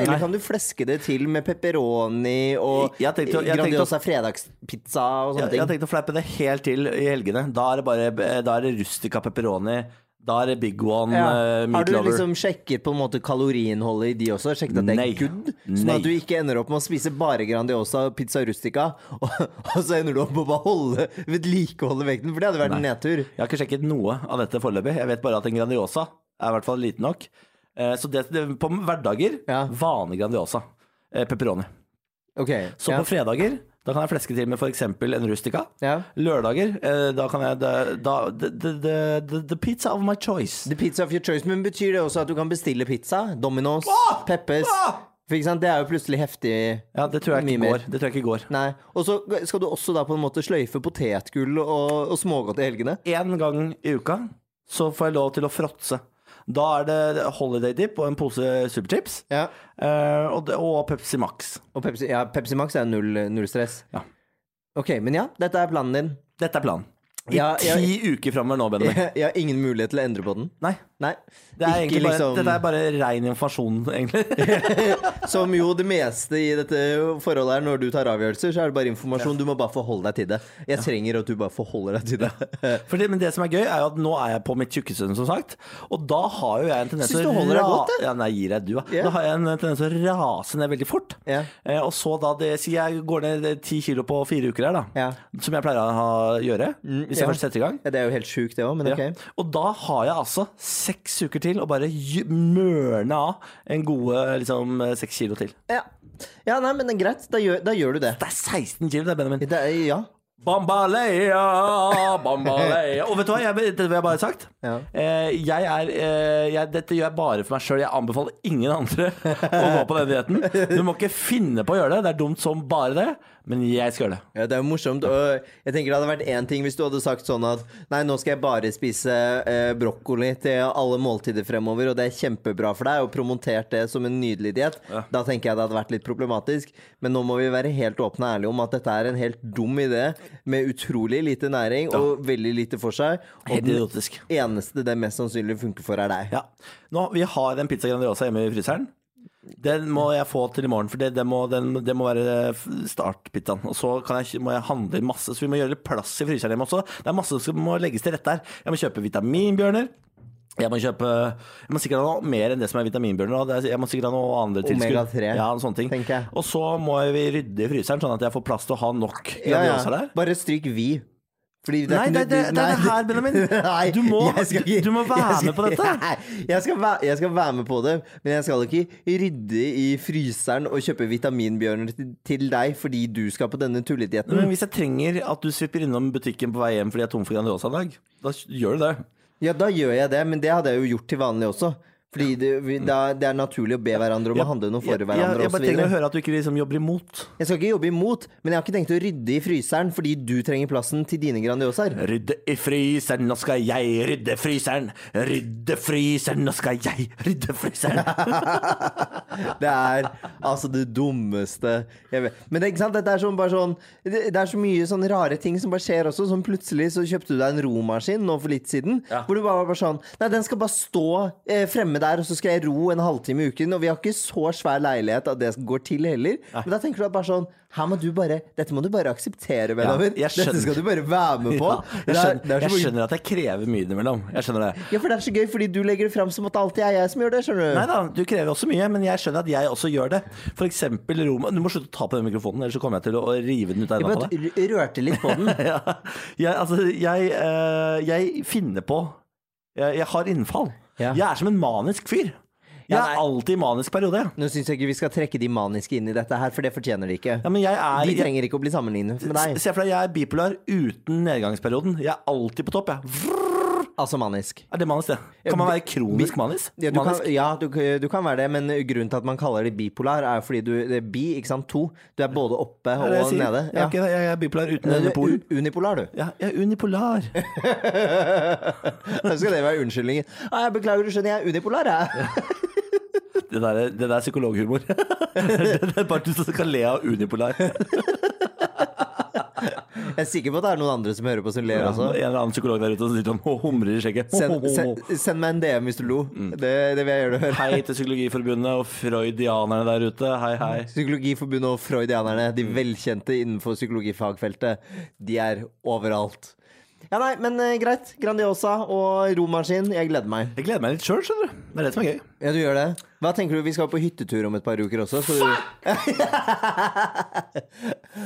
Speaker 1: Nei.
Speaker 2: Eller kan du fleske det til med pepperoni og
Speaker 1: Jeg tenkte- jeg tenkte-
Speaker 2: Grandiosa fredagspizza
Speaker 1: Jeg
Speaker 2: og sånne
Speaker 1: jeg har
Speaker 2: ting?
Speaker 1: tenkt å fleipe det helt til i helgene. Da er det bare eh, Da er det rustica pepperoni. Da er det big one,
Speaker 2: Ja.
Speaker 1: eh,
Speaker 2: Har
Speaker 1: meat
Speaker 2: du
Speaker 1: lover.
Speaker 2: liksom sjekket på en måte kaloriinnholdet i de også? Sjekket at det
Speaker 1: Nei.
Speaker 2: er good? Sånn
Speaker 1: Nei.
Speaker 2: at du ikke ender opp med å spise bare Grandiosa og pizza rustica, *laughs* og, og så ender du opp med å bare holde vedlikeholde vekten, for det hadde vært en nedtur.
Speaker 1: Jeg har ikke sjekket noe av dette foreløpig. Jeg vet bare at en Grandiosa er i hvert fall liten nok. Eh, Så det, det, på hverdager
Speaker 2: Ja.
Speaker 1: vanlig Grandiosa. eh, Pepperoni.
Speaker 2: Ok,
Speaker 1: Så
Speaker 2: ja.
Speaker 1: på fredager da kan jeg fleske til med f.eks. en rustica.
Speaker 2: Ja.
Speaker 1: Lørdager eh, da kan jeg da, da, the, the, the, the pizza of my choice.
Speaker 2: The pizza of your choice, men betyr det også at du kan bestille pizza? Domino's,
Speaker 1: Ah!
Speaker 2: Peppes
Speaker 1: Ah!
Speaker 2: For ikke sant, det er jo plutselig heftig
Speaker 1: Ja, det tror jeg
Speaker 2: Mye
Speaker 1: ikke
Speaker 2: mer.
Speaker 1: går. Det tror jeg ikke går.
Speaker 2: Nei, og så skal du også da på en måte sløyfe potetgull og, og smågodt i helgene.
Speaker 1: Én gang i uka så får jeg lov til å fråtse. Da er det holiday dip og en pose superchips.
Speaker 2: Ja.
Speaker 1: eh, Og, det- og Pepsi Max.
Speaker 2: Og Pepsi, ja, Pepsi Max er null, null stress.
Speaker 1: Ja.
Speaker 2: Ok, men ja, dette er planen din.
Speaker 1: Dette er planen. I
Speaker 2: Ja, ja.
Speaker 1: ti uker framover nå, Benjamin.
Speaker 2: *laughs* Jeg, jeg har ingen mulighet til å endre på den.
Speaker 1: Nei.
Speaker 2: Nei.
Speaker 1: Det er
Speaker 2: Ikke
Speaker 1: egentlig bare,
Speaker 2: liksom- *laughs*
Speaker 1: Dette er bare rein informasjon, *laughs* egentlig.
Speaker 2: Som jo det meste i dette forholdet er når du tar avgjørelser, så er det bare informasjon. Du må bare forholde deg til det. Jeg trenger at du bare forholder deg til det.
Speaker 1: *laughs* For det, men det som er gøy, er jo at nå er jeg på mitt tjukkesønn, som sagt. Og da har jo jeg en tendens
Speaker 2: Syns
Speaker 1: til
Speaker 2: du holder deg
Speaker 1: ra-
Speaker 2: godt,
Speaker 1: Ja, nei, gir deg du, da.
Speaker 2: Ja.
Speaker 1: Da har jeg en tendens til å rase ned veldig fort.
Speaker 2: Ja.
Speaker 1: Eh, og så da det Si jeg går ned ti kilo på fire uker her, da.
Speaker 2: Ja. Mm,
Speaker 1: Som jeg pleier å ha, gjøre hvis jeg
Speaker 2: ja.
Speaker 1: først setter i gang.
Speaker 2: Ja, det er jo helt sjukt, det òg, men
Speaker 1: Ja.
Speaker 2: ok.
Speaker 1: Og da har jeg altså seks uker til å bare gy- mørne av en gode liksom, seks kilo til.
Speaker 2: Ja, ja nei, men det er greit. Da gjør, da gjør du det.
Speaker 1: Det er 16 kilo, det, Benjamin.
Speaker 2: det er, ja.
Speaker 1: Bambaleia, bambaleia Og vet du hva, jeg, det vil jeg bare ha sagt.
Speaker 2: Ja.
Speaker 1: Eh, jeg er, eh, jeg, dette gjør jeg bare for meg sjøl. Jeg anbefaler ingen andre *laughs* å gå på den dietten. Du må ikke finne på å gjøre det. Det er dumt som bare det, men jeg skal gjøre det.
Speaker 2: Ja, det er jo morsomt. Og jeg tenker det hadde vært én ting hvis du hadde sagt sånn at nei, nå skal jeg bare spise eh, brokkoli til alle måltider fremover, og det er kjempebra for deg, og promotert det som en nydelig diett. Da tenker jeg det hadde vært litt problematisk. Men nå må vi være helt åpne og ærlige om at dette er en helt dum idé med utrolig lite næring og veldig lite for seg. Og
Speaker 1: Helt
Speaker 2: den
Speaker 1: idiotisk.
Speaker 2: eneste det mest sannsynlig funker for, er deg.
Speaker 1: Ja. Nå, vi har en pizza grandiosa hjemme i fryseren. Den må jeg få til i morgen, for det, det, må, den, det må være f- startpizzaen. Og så kan jeg, må jeg handle inn masse, så vi må gjøre litt plass i fryseren hjemme også. Det er masse som må legges til rette her. Jeg må kjøpe vitaminbjørner. Jeg må kjøpe Jeg må sikkert ha noe mer enn det som er vitaminbjørner. og det er- Jeg må sikkert ha noe andre tilskudd.
Speaker 2: Omega-3,
Speaker 1: ja, sånne ting.
Speaker 2: tenker jeg.
Speaker 1: Og så må vi rydde i fryseren, sånn at jeg får plass til å ha nok
Speaker 2: Ja, ja.
Speaker 1: grandiosa der.
Speaker 2: Bare stryk vi. Fordi
Speaker 1: Nei, det, er det, det er det her, Benjamin.
Speaker 2: *laughs* Nei,
Speaker 1: Du må,
Speaker 2: jeg skal
Speaker 1: du må være
Speaker 2: jeg skal-
Speaker 1: med på dette.
Speaker 2: Nei, jeg skal, være, jeg skal være med på det, men jeg skal ikke rydde i fryseren og kjøpe vitaminbjørner til, til deg fordi du skal på denne tulledietten.
Speaker 1: Men hvis jeg trenger at du svipper innom butikken på vei hjem fordi jeg er tom for Grandiosa en dag, da gjør du det.
Speaker 2: Ja, da gjør jeg det, men det hadde jeg jo gjort til vanlig også. Fordi det, vi- da, det er naturlig å be hverandre om å handle noe for
Speaker 1: Jeg- jeg,
Speaker 2: hverandre
Speaker 1: jeg bare trenger å
Speaker 2: osv.
Speaker 1: høre at du ikke liksom jobber imot.
Speaker 2: Jeg skal ikke jobbe imot, men jeg har ikke tenkt å rydde i fryseren fordi du trenger plassen til dine Grandiosaer.
Speaker 1: Rydde i fryseren, nå skal jeg rydde fryseren. Rydde fryseren, nå skal jeg rydde
Speaker 2: *laughs*
Speaker 1: fryseren.
Speaker 2: Det er altså det dummeste jeg vet. Men det, er ikke sant? Dette er sånn, bare sånn, det det er så mye sånne rare ting som bare skjer også. Sånn plutselig så kjøpte du deg en romaskin nå for litt siden.
Speaker 1: Ja.
Speaker 2: Hvor du bare var bare sånn Nei, den skal bare stå eh, fremme der, og så skal jeg ro en halvtime i uken. Og vi har ikke så svær leilighet at det går til heller. Men da tenker du at bare sånn her må du bare, Dette må du bare akseptere, Benjamin.
Speaker 1: jeg skjønner.
Speaker 2: dette skal du bare være med på.
Speaker 1: *laughs* Ja, jeg,
Speaker 2: Det er- det
Speaker 1: skjønner,
Speaker 2: er så
Speaker 1: jeg
Speaker 2: mye-
Speaker 1: skjønner at jeg krever mye innimellom. Jeg skjønner det.
Speaker 2: Ja, for det er så gøy, fordi du legger det fram som at det alltid er jeg som gjør det. skjønner du?
Speaker 1: Nei da, du krever også mye, men jeg skjønner at jeg også gjør det. For eksempel Roma Du må slutte å ta på den mikrofonen, ellers så kommer jeg til å rive den ut av hendene
Speaker 2: Jeg
Speaker 1: på deg.
Speaker 2: bare r- rørte litt på den.
Speaker 1: *laughs* ja. jeg, altså, jeg, eh, jeg finner på Jeg, jeg har innfall.
Speaker 2: Ja.
Speaker 1: Jeg er som en manisk fyr. Jeg
Speaker 2: Ja,
Speaker 1: er
Speaker 2: nei.
Speaker 1: alltid i manisk periode.
Speaker 2: Nå syns jeg ikke vi skal trekke de maniske inn i dette her, for det fortjener de ikke.
Speaker 1: Ja, men jeg er,
Speaker 2: De
Speaker 1: jeg,
Speaker 2: trenger ikke å bli sammenlignet
Speaker 1: se
Speaker 2: med deg.
Speaker 1: for deg, jeg er bipolar uten nedgangsperioden. Jeg er alltid på topp. Jeg. Vrrr.
Speaker 2: Altså manisk.
Speaker 1: Er det manisk, det? Kan man være kronisk manis?
Speaker 2: Ja, du kan,
Speaker 1: manisk?
Speaker 2: ja du, du kan være det, men grunnen til at man kaller det bipolar, er jo fordi du det er bi, ikke sant, to. Du er både oppe
Speaker 1: Er
Speaker 2: og
Speaker 1: det jeg, sier?
Speaker 2: nede.
Speaker 1: Jeg, er ikke det. jeg er bipolar uten
Speaker 2: Du er
Speaker 1: unipol.
Speaker 2: u- unipolar, *laughs* du.
Speaker 1: Ja, jeg er unipolar.
Speaker 2: Da skal det være unnskyldningen. Ah, jeg beklager, du skjønner, jeg er unipolar, jeg.
Speaker 1: *laughs* Det der, er- det der er psykologhumor. *laughs* det er bare du som kan le av unipolar.
Speaker 2: Jeg er sikker på at det er noen andre som hører på som ler
Speaker 1: Ja,
Speaker 2: også.
Speaker 1: en eller annen psykolog der ute som sitter og humrer i skjegget.
Speaker 2: Send, send, send meg en DM hvis du lo. Det, det vil jeg gjerne høre.
Speaker 1: Hei til Psykologiforbundet og freudianerne der ute. Hei, hei.
Speaker 2: Psykologiforbundet og freudianerne, de
Speaker 1: Mm.
Speaker 2: velkjente innenfor psykologifagfeltet, de er overalt. Ja, nei, men eh, greit. Grandiosa og romaskin. Jeg gleder meg.
Speaker 1: Jeg gleder meg litt sjøl, skjønner du. Det er det som er gøy.
Speaker 2: Ja, du gjør det. Hva tenker du? Vi skal på hyttetur om et par uker også. Så... Fuck! *laughs*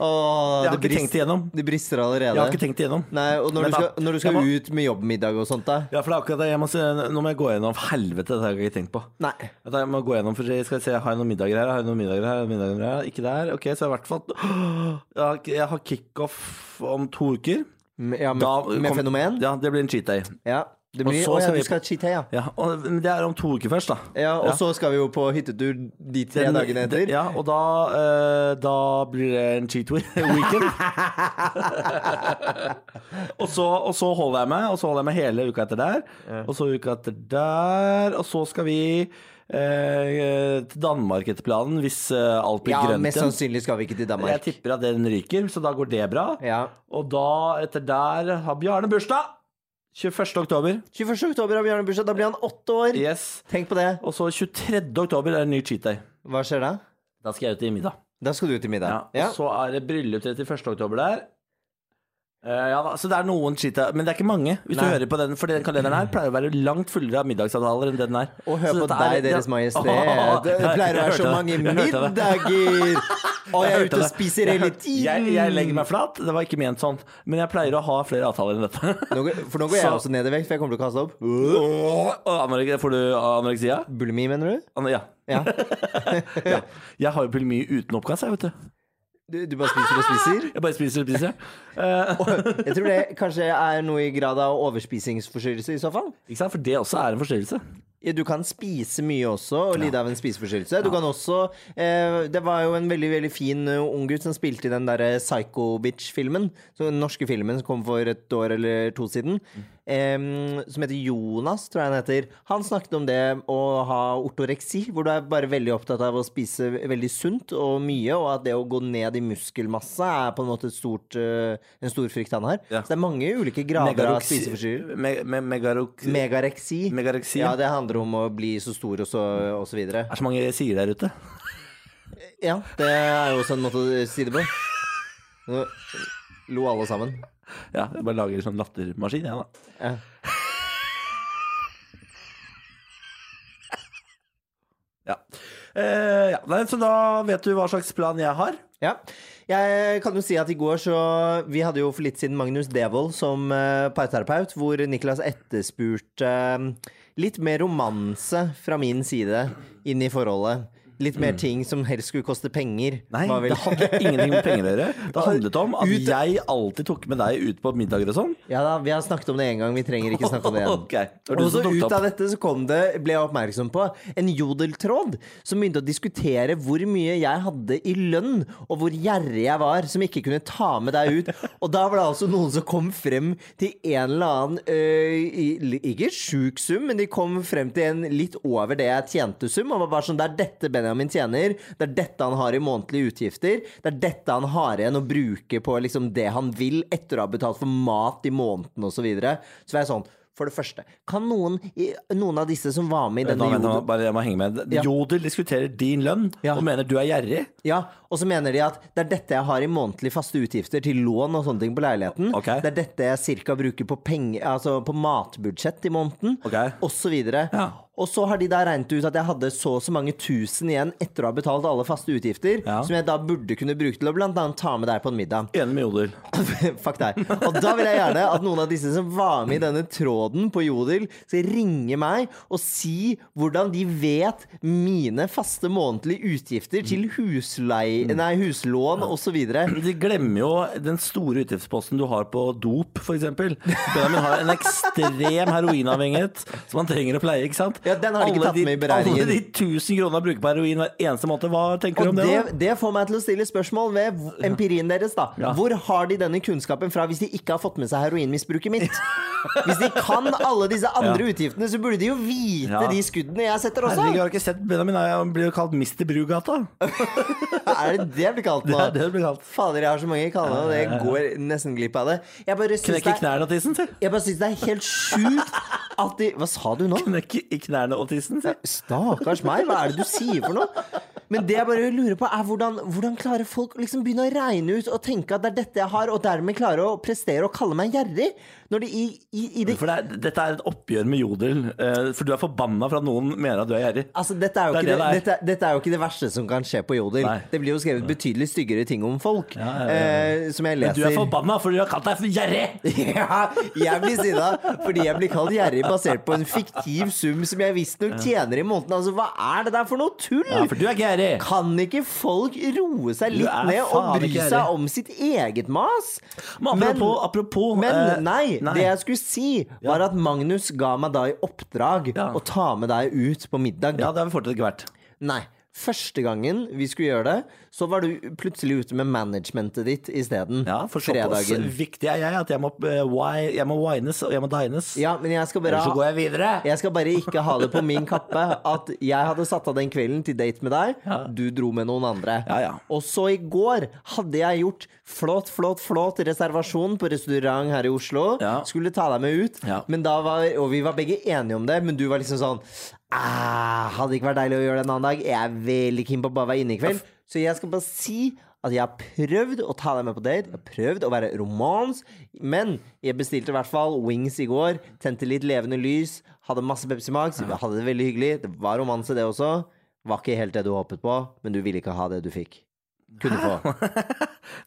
Speaker 2: Åh,
Speaker 1: Jeg har
Speaker 2: det,
Speaker 1: ikke tenkt
Speaker 2: brist,
Speaker 1: igjennom.
Speaker 2: det brister allerede.
Speaker 1: Jeg har ikke tenkt igjennom.
Speaker 2: Nei, og når
Speaker 1: Men
Speaker 2: du,
Speaker 1: da-
Speaker 2: skal, når du skal
Speaker 1: jeg
Speaker 2: ut med jobbmiddag og sånt, da?
Speaker 1: Ja, for det er akkurat det. Jeg må se, nå må jeg gå gjennom Helvete, det har jeg ikke tenkt på.
Speaker 2: Nei.
Speaker 1: At Jeg må gå gjennom, for jeg skal se, Har jeg noen middager her? Har jeg noen middager her? Middager her? Ikke der? Ok, så jeg har i hvert fall *gasps* Jeg har- Jeg har kickoff om to uker.
Speaker 2: Ja, med,
Speaker 1: Da
Speaker 2: med
Speaker 1: kom-
Speaker 2: fenomen?
Speaker 1: Ja, det blir en cheat day.
Speaker 2: Ja. Det
Speaker 1: Og
Speaker 2: blir,
Speaker 1: så
Speaker 2: å, ja,
Speaker 1: skal
Speaker 2: du
Speaker 1: vi
Speaker 2: skal cheat hey, ja.
Speaker 1: Ja, og men det er om to uker først, da.
Speaker 2: ja. Og så skal vi jo på hyttetur de tre
Speaker 1: Den-
Speaker 2: dagene etter.
Speaker 1: Ja, og da, eh, da blir det en cheat week- *laughs*
Speaker 2: *laughs*
Speaker 1: weekend. og, så, og så holder jeg meg, og så holder jeg meg hele uka etter der. Og så uka etter der, og så skal vi eh, til Danmark etter planen, hvis eh, alt blir
Speaker 2: Ja,
Speaker 1: grønt
Speaker 2: mest
Speaker 1: igjen.
Speaker 2: sannsynlig skal vi ikke
Speaker 1: Jeg
Speaker 2: til Danmark.
Speaker 1: tipper at den ryker, så da går det bra.
Speaker 2: Ja.
Speaker 1: Og da, etter der, har Bjarne bursdag! 21. oktober.
Speaker 2: 21. oktober har Bjarne bursdag. Da blir han åtte år.
Speaker 1: Yes.
Speaker 2: Tenk på det.
Speaker 1: Og så 23. oktober er en ny cheat day.
Speaker 2: Hva skjer da?
Speaker 1: Da skal jeg ut i middag.
Speaker 2: Da skal du til middag.
Speaker 1: Ja, og så er det bryllup 31. oktober der. Eh, ja da, så det er noen shit der, men det er ikke mange. Hvis du
Speaker 2: Nei.
Speaker 1: hører på den, For den kalenderen her pleier å være langt fullere av middagsavtaler enn den her.
Speaker 2: Og hør
Speaker 1: Så
Speaker 2: på
Speaker 1: dette
Speaker 2: deg,
Speaker 1: er-
Speaker 2: Deres Majestet.
Speaker 1: Åh,
Speaker 2: Det pleier å
Speaker 1: *laughs* jeg
Speaker 2: være så
Speaker 1: hørte
Speaker 2: mange
Speaker 1: det. Jeg hørte det. *laughs*
Speaker 2: middager. Og jeg er ute og spiser hele
Speaker 1: Jeg,
Speaker 2: tiden.
Speaker 1: jeg legger meg flat, det var ikke ment sånn. Men jeg pleier å ha flere avtaler enn
Speaker 2: *laughs*
Speaker 1: dette.
Speaker 2: Nå går- For nå går jeg
Speaker 1: Så-
Speaker 2: også ned i vekt, for jeg kommer til å kaste opp.
Speaker 1: Åh, anorek- Får du anoreksia?
Speaker 2: Bulimi, mener du?
Speaker 1: Ano- Ja.
Speaker 2: Ja.
Speaker 1: *laughs* ja. Jeg har jo veldig mye uten oppkast, jeg, vet du.
Speaker 2: Du, du bare spiser og *laughs* spiser?
Speaker 1: Jeg bare spiser og spiser. Eh,
Speaker 2: Jeg tror det kanskje er noe i grad av overspisingsforstyrrelse i så fall.
Speaker 1: ikke sant? For det også er en forstyrrelse.
Speaker 2: Ja, Du kan spise mye også og lide av en spiseforstyrrelse. Du kan også eh, Det var jo en veldig veldig fin eh, ung gutt som spilte i den derre Psycho Bitch-filmen. så Den norske filmen som kom for et år eller to siden. Eh, som heter Jonas, tror jeg han heter. Han snakket om det å ha ortoreksi, hvor du er bare veldig opptatt av å spise veldig sunt og mye, og at det å gå ned i muskelmasse er på en måte et stort, eh, en stor frykt han har.
Speaker 1: Ja.
Speaker 2: Så det er mange ulike grader av spiseforstyrrelser.
Speaker 1: me, me,
Speaker 2: Mm.
Speaker 1: megaroksi-
Speaker 2: Megareksi.
Speaker 1: Megareksi,
Speaker 2: Ja, det handler om å bli så stor og så, og så videre.
Speaker 1: Det er så mange sier der ute.
Speaker 2: Ja, det er jo også en måte å si det på. Nå lo alle sammen.
Speaker 1: Ja, jeg bare lager en sånn lattermaskin, jeg, da.
Speaker 2: Ja.
Speaker 1: *laughs* Ja. Eh, ja. Nei, så da vet du hva slags plan jeg har.
Speaker 2: Ja. Jeg kan jo si at i går så Vi hadde jo for litt siden Magnus Devold som eh, parterapeut, hvor Niklas etterspurte eh, litt mer romanse fra min side inn i forholdet. Litt mer ting som helst skulle koste penger.
Speaker 1: Mm. Nei,
Speaker 2: var vel-
Speaker 1: det hadde ingenting med penger å gjøre. Det handlet om at jeg alltid tok med deg ut på middager og
Speaker 2: *laughs*
Speaker 1: sånn.
Speaker 2: Ja da, vi har snakket om det én gang, vi trenger ikke snakke om det
Speaker 1: *laughs*
Speaker 2: igjen.
Speaker 1: Ok, det var du
Speaker 2: Og
Speaker 1: som
Speaker 2: så
Speaker 1: tok det
Speaker 2: ut
Speaker 1: opp.
Speaker 2: av dette så kom det, ble jeg oppmerksom på, en jodeltråd som begynte å diskutere hvor mye jeg hadde i lønn, og hvor gjerrig jeg var som ikke kunne ta med deg ut. *laughs* Og da var det altså noen som kom frem til en eller annen, øh, i- ikke sjuk sum, men de kom frem til en litt over det jeg tjente sum, og var bare sånn, det er dette Benjamin tjener, det er dette han har i månedlige utgifter, det er dette han har igjen å bruke på liksom det han vil etter å ha betalt for mat i måneden og så videre. Så var jeg sånn, for det første, kan noen, i- noen av disse som var med i
Speaker 1: Nå,
Speaker 2: denne
Speaker 1: vent, nå,
Speaker 2: jodel...
Speaker 1: bare jeg må henge med.
Speaker 2: Ja.
Speaker 1: Jodel diskuterer din lønn
Speaker 2: Ja.
Speaker 1: og mener du er gjerrig.
Speaker 2: Ja, og så mener de at det er dette jeg har i månedlige faste utgifter til lån og sånne ting på leiligheten.
Speaker 1: Ok.
Speaker 2: Det er dette jeg cirka bruker på, penge, altså på matbudsjett i måneden,
Speaker 1: Ok.
Speaker 2: og så videre.
Speaker 1: Ja.
Speaker 2: Og så har de da regnet ut at jeg hadde så og så mange tusen igjen etter å ha betalt alle faste utgifter,
Speaker 1: Ja.
Speaker 2: som jeg da burde kunne bruke til å blant annet ta med deg på en middag.
Speaker 1: Enig med Jodel.
Speaker 2: *coughs* Fuck deg. Og da vil jeg gjerne at noen av disse som var med i denne tråden på Jodel, skal ringe meg og si hvordan de vet mine faste månedlige utgifter til huslei, nei, huslån osv.
Speaker 1: *clears throat* De glemmer jo den store utgiftsposten du har på dop, f.eks. Benjamin har en ekstrem heroinavhengighet som han trenger å pleie, ikke sant?
Speaker 2: Ja, den har de ikke
Speaker 1: Alle
Speaker 2: tatt med i beregningen.
Speaker 1: Alle de 1000 kronene han bruker på heroin hver eneste måned, hva tenker du
Speaker 2: Og
Speaker 1: om det? da?
Speaker 2: det, det får meg til å stille spørsmål ved v- empirien deres. da
Speaker 1: Ja.
Speaker 2: Hvor har de denne kunnskapen fra hvis de ikke har fått med seg heroinmisbruket mitt? Hvis de kan alle disse andre utgiftene, så burde de jo vite
Speaker 1: Ja.
Speaker 2: de skuddene jeg setter også.
Speaker 1: Herregud, jeg har ikke sett Benjamin. Han blir jo kalt Mr. Brugata.
Speaker 2: Er det det jeg blir kalt nå?
Speaker 1: Det er det det blir kalt.
Speaker 2: Fader, jeg har så mange kallenavn, og jeg går nesten glipp av det. Jeg bare syns
Speaker 1: Knekker
Speaker 2: det, er-
Speaker 1: knærne og tissen, si.
Speaker 2: jeg bare syns det er helt sjukt at de Hva sa du nå?
Speaker 1: Knekker i knærne og tissen, si.
Speaker 2: Stakkars meg, hva er det du sier for noe? Men det jeg bare lurer på er hvordan, hvordan klarer folk å liksom begynne å regne ut og tenke at det er dette jeg har, og dermed klare å prestere og kalle meg gjerrig? Når de i, i, i det,
Speaker 1: For det er, dette er et oppgjør med jodel. eh, For du er forbanna for at noen mener at du er gjerrig.
Speaker 2: altså, dette, er jo
Speaker 1: Det er
Speaker 2: ikke det,
Speaker 1: det det
Speaker 2: dette, dette er jo ikke det verste som kan skje på Jodel.
Speaker 1: Nei.
Speaker 2: Det blir jo skrevet betydelig styggere ting om folk,
Speaker 1: ja, ja, ja.
Speaker 2: Eh, som jeg
Speaker 1: Men
Speaker 2: leser.
Speaker 1: du er forbanna fordi du har kalt deg for gjerrig!
Speaker 2: *laughs* Ja, jeg blir sinna fordi jeg blir kalt gjerrig basert på en fiktiv sum som jeg visstnok tjener i måneden. Altså, hva er det der for noe tull?
Speaker 1: Ja, for du er ikke gjerrig!
Speaker 2: Kan ikke folk roe seg
Speaker 1: Du
Speaker 2: litt
Speaker 1: er
Speaker 2: ned og
Speaker 1: faen
Speaker 2: bry
Speaker 1: ikke
Speaker 2: seg
Speaker 1: ærlig.
Speaker 2: om sitt eget mas?
Speaker 1: Men apropos, apropos
Speaker 2: Men
Speaker 1: eh,
Speaker 2: nei, det jeg skulle si, var at Magnus ga meg da i oppdrag
Speaker 1: Ja.
Speaker 2: å ta med deg ut på middag.
Speaker 1: Ja, det har vi fortsatt ikke vært.
Speaker 2: Nei. Første gangen vi skulle gjøre det, så var du plutselig ute med managementet ditt isteden.
Speaker 1: Ja, for såpass viktig er jeg at jeg må, eh, wi- jeg må wines og jeg må dines.
Speaker 2: Ja, men jeg skal bare
Speaker 1: Ellers så går jeg videre.
Speaker 2: *laughs* Jeg skal bare ikke ha det på min kappe at jeg hadde satt av den kvelden til date med deg. Du dro med noen andre.
Speaker 1: Ja, ja.
Speaker 2: Og så i går hadde jeg gjort flott, flott, flott reservasjon på restaurant her i Oslo.
Speaker 1: Ja.
Speaker 2: Skulle ta deg med ut,
Speaker 1: Ja.
Speaker 2: men da var, og vi var begge enige om det, men du var liksom sånn «Ah, Hadde ikke vært deilig å gjøre det en annen dag. Jeg er veldig keen på å bare være inne i kveld. Så jeg skal bare si at jeg har prøvd å ta deg med på date. Jeg har prøvd å være romans. Men jeg bestilte i hvert fall wings i går. Tente litt levende lys. Hadde masse Pepsi Max. Vi hadde det veldig hyggelig. Det var romanse, det også. Var ikke helt det du håpet på, men du ville ikke ha det du fikk. Kunne få.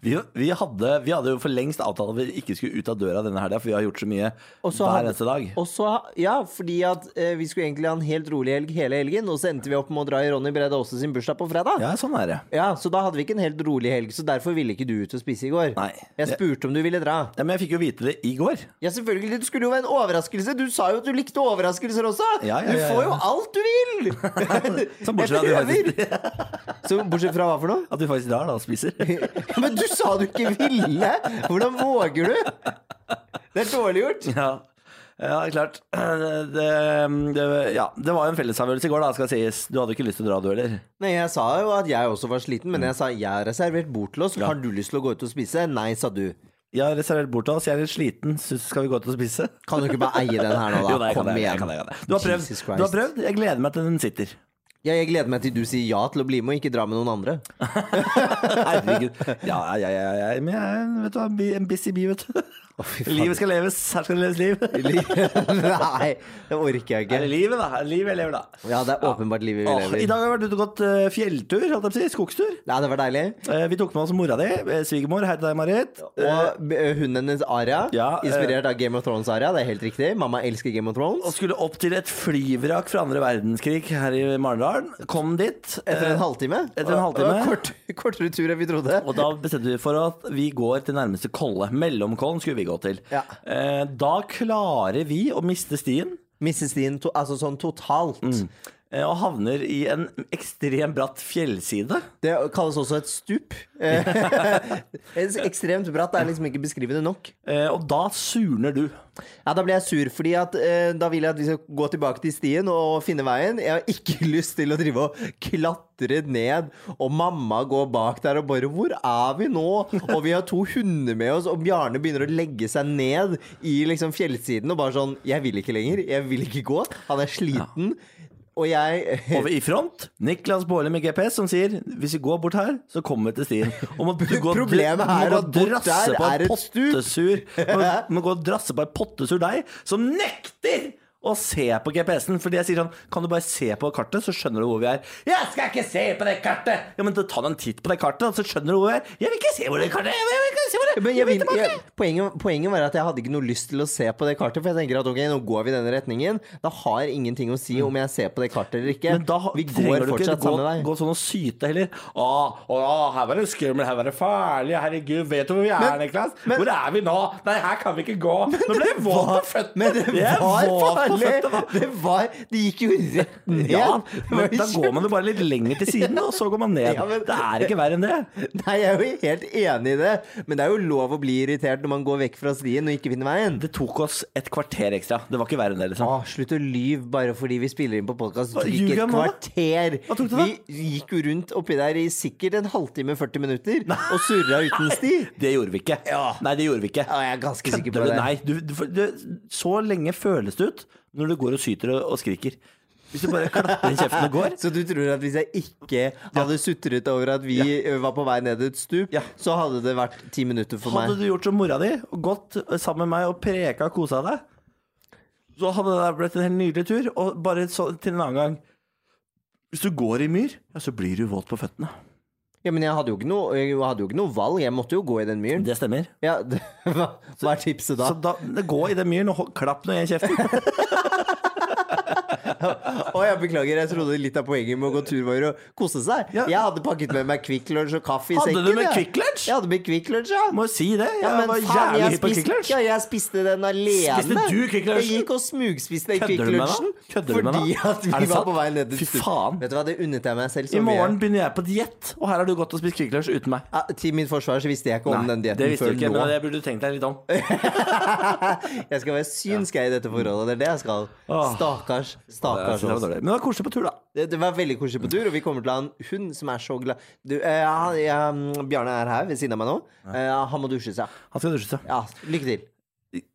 Speaker 1: Vi, vi, hadde, vi hadde jo for lengst avtalt at vi ikke skulle ut av døra denne helga, for vi har gjort så mye
Speaker 2: Og så
Speaker 1: hver
Speaker 2: hadde-
Speaker 1: eneste dag.
Speaker 2: Og så, ja, fordi at eh, vi skulle egentlig ha en helt rolig helg hele helgen, og så endte vi opp med å dra i Ronny Brede Aase sin bursdag på fredag. Ja.
Speaker 1: Ja, sånn er det.
Speaker 2: så da hadde vi ikke en helt rolig helg, så derfor ville ikke du ut og spise i går.
Speaker 1: Nei.
Speaker 2: Jeg spurte om du ville dra.
Speaker 1: Ja, men jeg fikk jo vite det i
Speaker 2: *laughs*
Speaker 1: går.
Speaker 2: Ja, selvfølgelig. Det skulle jo være en overraskelse. Du sa jo at du likte overraskelser også.
Speaker 1: Ja, ja, ja,
Speaker 2: Du får jo
Speaker 1: ja.
Speaker 2: alt du vil!
Speaker 1: *laughs* Så Sånn bortsett fra at
Speaker 2: Jeg
Speaker 1: du
Speaker 2: prøver. Så bortsett fra hva for noe?
Speaker 1: *laughs*
Speaker 2: *laughs*
Speaker 1: At vi faktisk drar da og spiser. *laughs*
Speaker 2: Men du sa du ikke ville! Hvordan våger du? Det er dårlig gjort.
Speaker 1: Ja, ja det er klart. *clears throat* Det, det, ja, det var jo en fellesavgjørelse i går, da, skal sies. Du hadde ikke lyst til å dra, du heller.
Speaker 2: Nei, jeg sa jo at jeg også var sliten,
Speaker 1: Mm.
Speaker 2: men jeg sa jeg har reservert bord til oss. Har du lyst til å gå ut og spise? Nei, sa du.
Speaker 1: Jeg har reservert bord til oss, jeg er litt sliten. Syns skal vi gå ut og spise?
Speaker 2: Kan du ikke bare eie den her nå,
Speaker 1: *laughs*
Speaker 2: da?
Speaker 1: Jo, nei, jeg kan
Speaker 2: Kom
Speaker 1: det, jeg
Speaker 2: igjen.
Speaker 1: kan det, jeg kan det. Du har prøvd.
Speaker 2: Jesus Christ.
Speaker 1: Du har prøvd. Jeg gleder meg til den sitter.
Speaker 2: Ja, jeg gleder meg til du sier ja til å bli med og ikke dra med noen
Speaker 1: *laughs*
Speaker 2: andre. *laughs*
Speaker 1: Herregud. Ja, ja, ja, ja, ja. Men jeg er vet du, hva, en bi- en busy bee, vet du.
Speaker 2: fy faen.
Speaker 1: Livet skal leves. Her skal det leves liv.
Speaker 2: Nei, det orker
Speaker 1: Er
Speaker 2: jeg ikke.
Speaker 1: det livet, da? Er det livet jeg lever, da?
Speaker 2: Ja, det er åpenbart livet vi
Speaker 1: Åh,
Speaker 2: lever
Speaker 1: I dag har vi vært ute og gått eh, fjelltur, holdt jeg på å si. Skogstur.
Speaker 2: Nei, det var deilig.
Speaker 1: Eh, Vi tok med oss mora di, eh, svigermor. Hei til deg, Marit.
Speaker 2: Og b- eh, hunden hennes Aria,
Speaker 1: Eh. Ja, eh,
Speaker 2: inspirert av Game of Thrones Aria, det er helt riktig. Mamma elsker Game
Speaker 1: og
Speaker 2: of Thrones.
Speaker 1: skulle opp til et flyvrak fra andre verdenskrig her i Marendalen. Kom dit.
Speaker 2: Etter
Speaker 1: eh,
Speaker 2: en halvtime.
Speaker 1: etter en
Speaker 2: Og- og
Speaker 1: halvtime.
Speaker 2: Kort, *laughs* kortere tur enn vi trodde.
Speaker 1: Og da bestemte vi for at vi går til nærmeste kolle. Mellomkollen skulle vi gå til.
Speaker 2: Ja.
Speaker 1: Eh, Da klarer vi å miste stien.
Speaker 2: Mrs. Dean, to, altså sånn totalt.
Speaker 1: eh, Og havner i en ekstremt bratt fjellside.
Speaker 2: Det kalles også et stup. Eh, *laughs* et ekstremt bratt. Det er liksom ikke beskrivende nok.
Speaker 1: Eh, Og da surner du.
Speaker 2: Ja, Da blir jeg sur, fordi at eh, da vil jeg at vi skal gå tilbake til stien og finne veien. Jeg har ikke *laughs* lyst til å drive og klatre ned, og mamma går bak der og bare 'Hvor er vi nå?' Og vi har to hunder med oss, og Bjarne begynner å legge seg ned i liksom fjellsiden og bare sånn 'Jeg vil ikke lenger. Jeg vil ikke gå.' Han er sliten. Og
Speaker 1: *laughs*
Speaker 2: jeg
Speaker 1: Og i front Niklas Baarli med GPS som sier hvis vi går bort her, så kommer vi til stien. Og må du gå-
Speaker 2: *laughs* Problemet
Speaker 1: du må
Speaker 2: er
Speaker 1: gå
Speaker 2: at bort
Speaker 1: drasse
Speaker 2: der
Speaker 1: på en
Speaker 2: er et stup.
Speaker 1: pottesur
Speaker 2: *laughs*
Speaker 1: må- Må gå og drasse på en pottesur deg som nekter å se på GPS-en. Fordi jeg sier sånn Kan du bare se på kartet, så skjønner du hvor vi er. Jeg skal ikke se på det kartet! Ja, men da ta nå en titt på det kartet, da, så skjønner du hvor vi er. Jeg vil ikke se hvor det kartet er! Jeg vil ikke se hvor det
Speaker 2: men jeg
Speaker 1: vil
Speaker 2: vil,
Speaker 1: tilbake!
Speaker 2: jeg, poenget, poenget var at jeg hadde ikke noe lyst til å se på det kartet. For jeg tenker at ok, nå går vi i denne retningen. Da har ingenting å si om jeg ser på det kartet eller ikke.
Speaker 1: Men da ha-
Speaker 2: vi
Speaker 1: trenger
Speaker 2: går
Speaker 1: du ikke
Speaker 2: fortsatt
Speaker 1: gå,
Speaker 2: samme vei.
Speaker 1: gå sånn og syte heller. Å, å, her var det skummelt, her var det farlig, herregud, vet du hvor vi er, Niklas? hvor er vi nå? Nei, her kan vi ikke gå. Nå ble jeg våt på føttene.
Speaker 2: Men det
Speaker 1: Jeg er våt
Speaker 2: var
Speaker 1: på
Speaker 2: farlig!
Speaker 1: føttene.
Speaker 2: Det var Det gikk jo rett ned.
Speaker 1: Ja,
Speaker 2: Det var
Speaker 1: men da
Speaker 2: kjempe-
Speaker 1: går man jo bare litt lenger til siden, og så går man ned.
Speaker 2: Ja, men-
Speaker 1: Det er ikke verre enn det.
Speaker 2: Nei, jeg er jo helt enig i det. Men det er jo lov å bli irritert når man går vekk fra stien og ikke finner veien.
Speaker 1: Det tok oss et kvarter ekstra. Det var ikke verre enn det, liksom.
Speaker 2: Å, slutt å lyve bare fordi vi spiller inn på podkast.
Speaker 1: Hva,
Speaker 2: Det tok
Speaker 1: ljuger
Speaker 2: ikke
Speaker 1: jeg nå,
Speaker 2: et
Speaker 1: da?
Speaker 2: kvarter.
Speaker 1: Hva tok det da?
Speaker 2: Vi gikk jo rundt oppi der i sikkert en halvtime, 40 minutter, og surra uten
Speaker 1: *laughs*
Speaker 2: sti.
Speaker 1: Det gjorde vi ikke.
Speaker 2: Ja.
Speaker 1: Nei, det gjorde vi ikke.
Speaker 2: Ja, jeg er ganske sikker på
Speaker 1: Kødder du?
Speaker 2: det.
Speaker 1: Nei, du, du, for- du, så lenge føles det ut når du går og syter og, og skriker. Hvis du bare klapper i kjeften og går,
Speaker 2: Så du tror at hvis jeg ikke hadde sutret over at vi ø, var på vei ned et stup,
Speaker 1: Ja.
Speaker 2: så hadde det vært ti minutter for
Speaker 1: Hadde
Speaker 2: meg?
Speaker 1: du gjort som mora di og gått sammen med meg og preka og kosa deg, så hadde det blitt en helt nydelig tur. Og bare så, til en annen gang Hvis du går i myr, ja, så blir du våt på føttene.
Speaker 2: Ja, men jeg hadde, jo ikke noe, jeg hadde jo ikke noe valg. Jeg måtte jo gå i den myren.
Speaker 1: Det stemmer.
Speaker 2: Ja, *laughs* det, hva, hva er tipset da?
Speaker 1: Så da, gå i den myren og ho- klapp noe i kjeften.
Speaker 2: Å, jeg beklager, jeg trodde litt av poenget med å gå tur var å kose seg.
Speaker 1: Ja.
Speaker 2: Jeg hadde pakket med meg Quick Lunch og kaffe i
Speaker 1: Hadde
Speaker 2: sekken.
Speaker 1: du med
Speaker 2: jeg.
Speaker 1: Quick Lunch?
Speaker 2: Jeg hadde med Quick Lunch, ja.
Speaker 1: Må jo si det. Jeg
Speaker 2: Ja, men
Speaker 1: var
Speaker 2: faen,
Speaker 1: jævlig
Speaker 2: jeg,
Speaker 1: hypp på Quick
Speaker 2: spiste,
Speaker 1: Lunch.
Speaker 2: ja, jeg spiste den alene.
Speaker 1: Spiste du Quick Lunchen?
Speaker 2: Jeg gikk og smugspiste den
Speaker 1: Kødder
Speaker 2: Quick
Speaker 1: du med meg?
Speaker 2: Lunchen.
Speaker 1: Kødder du med
Speaker 2: Fordi
Speaker 1: meg?
Speaker 2: at
Speaker 1: Er
Speaker 2: vi
Speaker 1: det
Speaker 2: var
Speaker 1: sant?
Speaker 2: på vei ned til
Speaker 1: Fy faen.
Speaker 2: Vet du hva, det unnet jeg meg selv så
Speaker 1: I morgen
Speaker 2: mye.
Speaker 1: begynner jeg på diett, og her har du gått og spist Quick Lunch uten meg.
Speaker 2: Ja, til mitt forsvar så visste jeg ikke om
Speaker 1: Nei,
Speaker 2: den
Speaker 1: det
Speaker 2: dietten
Speaker 1: visste du
Speaker 2: før
Speaker 1: ikke,
Speaker 2: nå.
Speaker 1: men det burde du tenkt deg litt om.
Speaker 2: Jeg skal være synsk jeg i dette forholdet. Det er det jeg skal.
Speaker 1: Åh.
Speaker 2: Stakkars.
Speaker 1: Jeg synes
Speaker 2: Stakkars
Speaker 1: det var
Speaker 2: oss.
Speaker 1: dårlig. Men det var koselig på tur, da.
Speaker 2: Det, det var veldig koselig på tur, og vi kommer til å ha en hund som er så glad du, eh, han- ja, mm, Bjarne er her ved siden av meg nå. Eh, han må dusje seg.
Speaker 1: Han skal dusje seg.
Speaker 2: Ja, lykke til.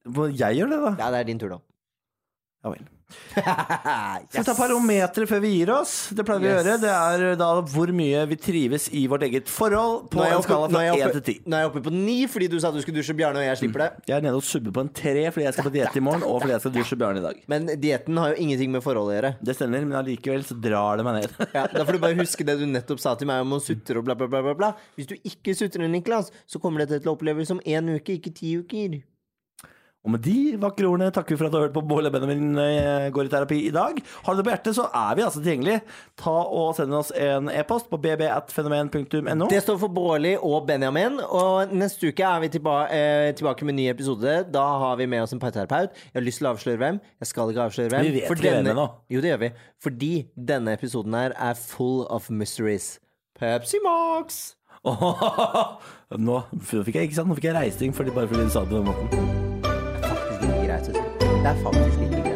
Speaker 1: Må Jeg gjør det, da.
Speaker 2: Ja, det er din tur nå. Ah,
Speaker 1: Ja vel. Skal vi
Speaker 2: yes.
Speaker 1: ta parometer før vi gir oss? Det pleier vi å
Speaker 2: Yes.
Speaker 1: gjøre. Det er da hvor mye vi trives i vårt eget forhold på
Speaker 2: Nå er jeg
Speaker 1: en
Speaker 2: oppe-
Speaker 1: skala
Speaker 2: nå er
Speaker 1: fra 1
Speaker 2: jeg oppe-
Speaker 1: til 10.
Speaker 2: Nå er jeg oppe på ni fordi du sa du skulle dusje Bjarne, og jeg slipper det.
Speaker 1: Jeg er nede og subber på en 3 fordi jeg skal på diett i morgen, og fordi jeg skal dusje Bjørn i dag.
Speaker 2: Men dietten har jo ingenting med forholdet å gjøre.
Speaker 1: Det stemmer, men allikevel så drar det meg ned. *laughs*
Speaker 2: Ja, da får du bare huske det du nettopp sa til meg om å sutre og bla, bla, bla. bla, bla. Hvis du ikke sutrer, Niklas, så kommer dette til å oppleves som én uke, ikke ti uker.
Speaker 1: Og med de vakre ordene takker vi for at du har hørt på Bård og Benjamin eh, går i terapi i dag. Har du det på hjertet, så er vi altså tilgjengelig. Ta og Send oss en e-post på bb.fenomen.no. *laughs*
Speaker 2: Det står for Bårli og Benjamin, og neste uke er vi tilba eh, tilbake med en ny episode. Da har vi med oss en parterapeut. Jeg har lyst til å avsløre hvem. Jeg skal ikke avsløre hvem.
Speaker 1: Vi vet ikke hvem ennå.
Speaker 2: Jo, det gjør vi. Fordi denne episoden her er full of mysteries. Pepsi Max!
Speaker 1: Nå fikk jeg, ikke sant? Nå fikk jeg reisting fordi bare fordi du sa det på den måten.
Speaker 2: Faktisk ikke greit å si. Det er faktisk ikke greit.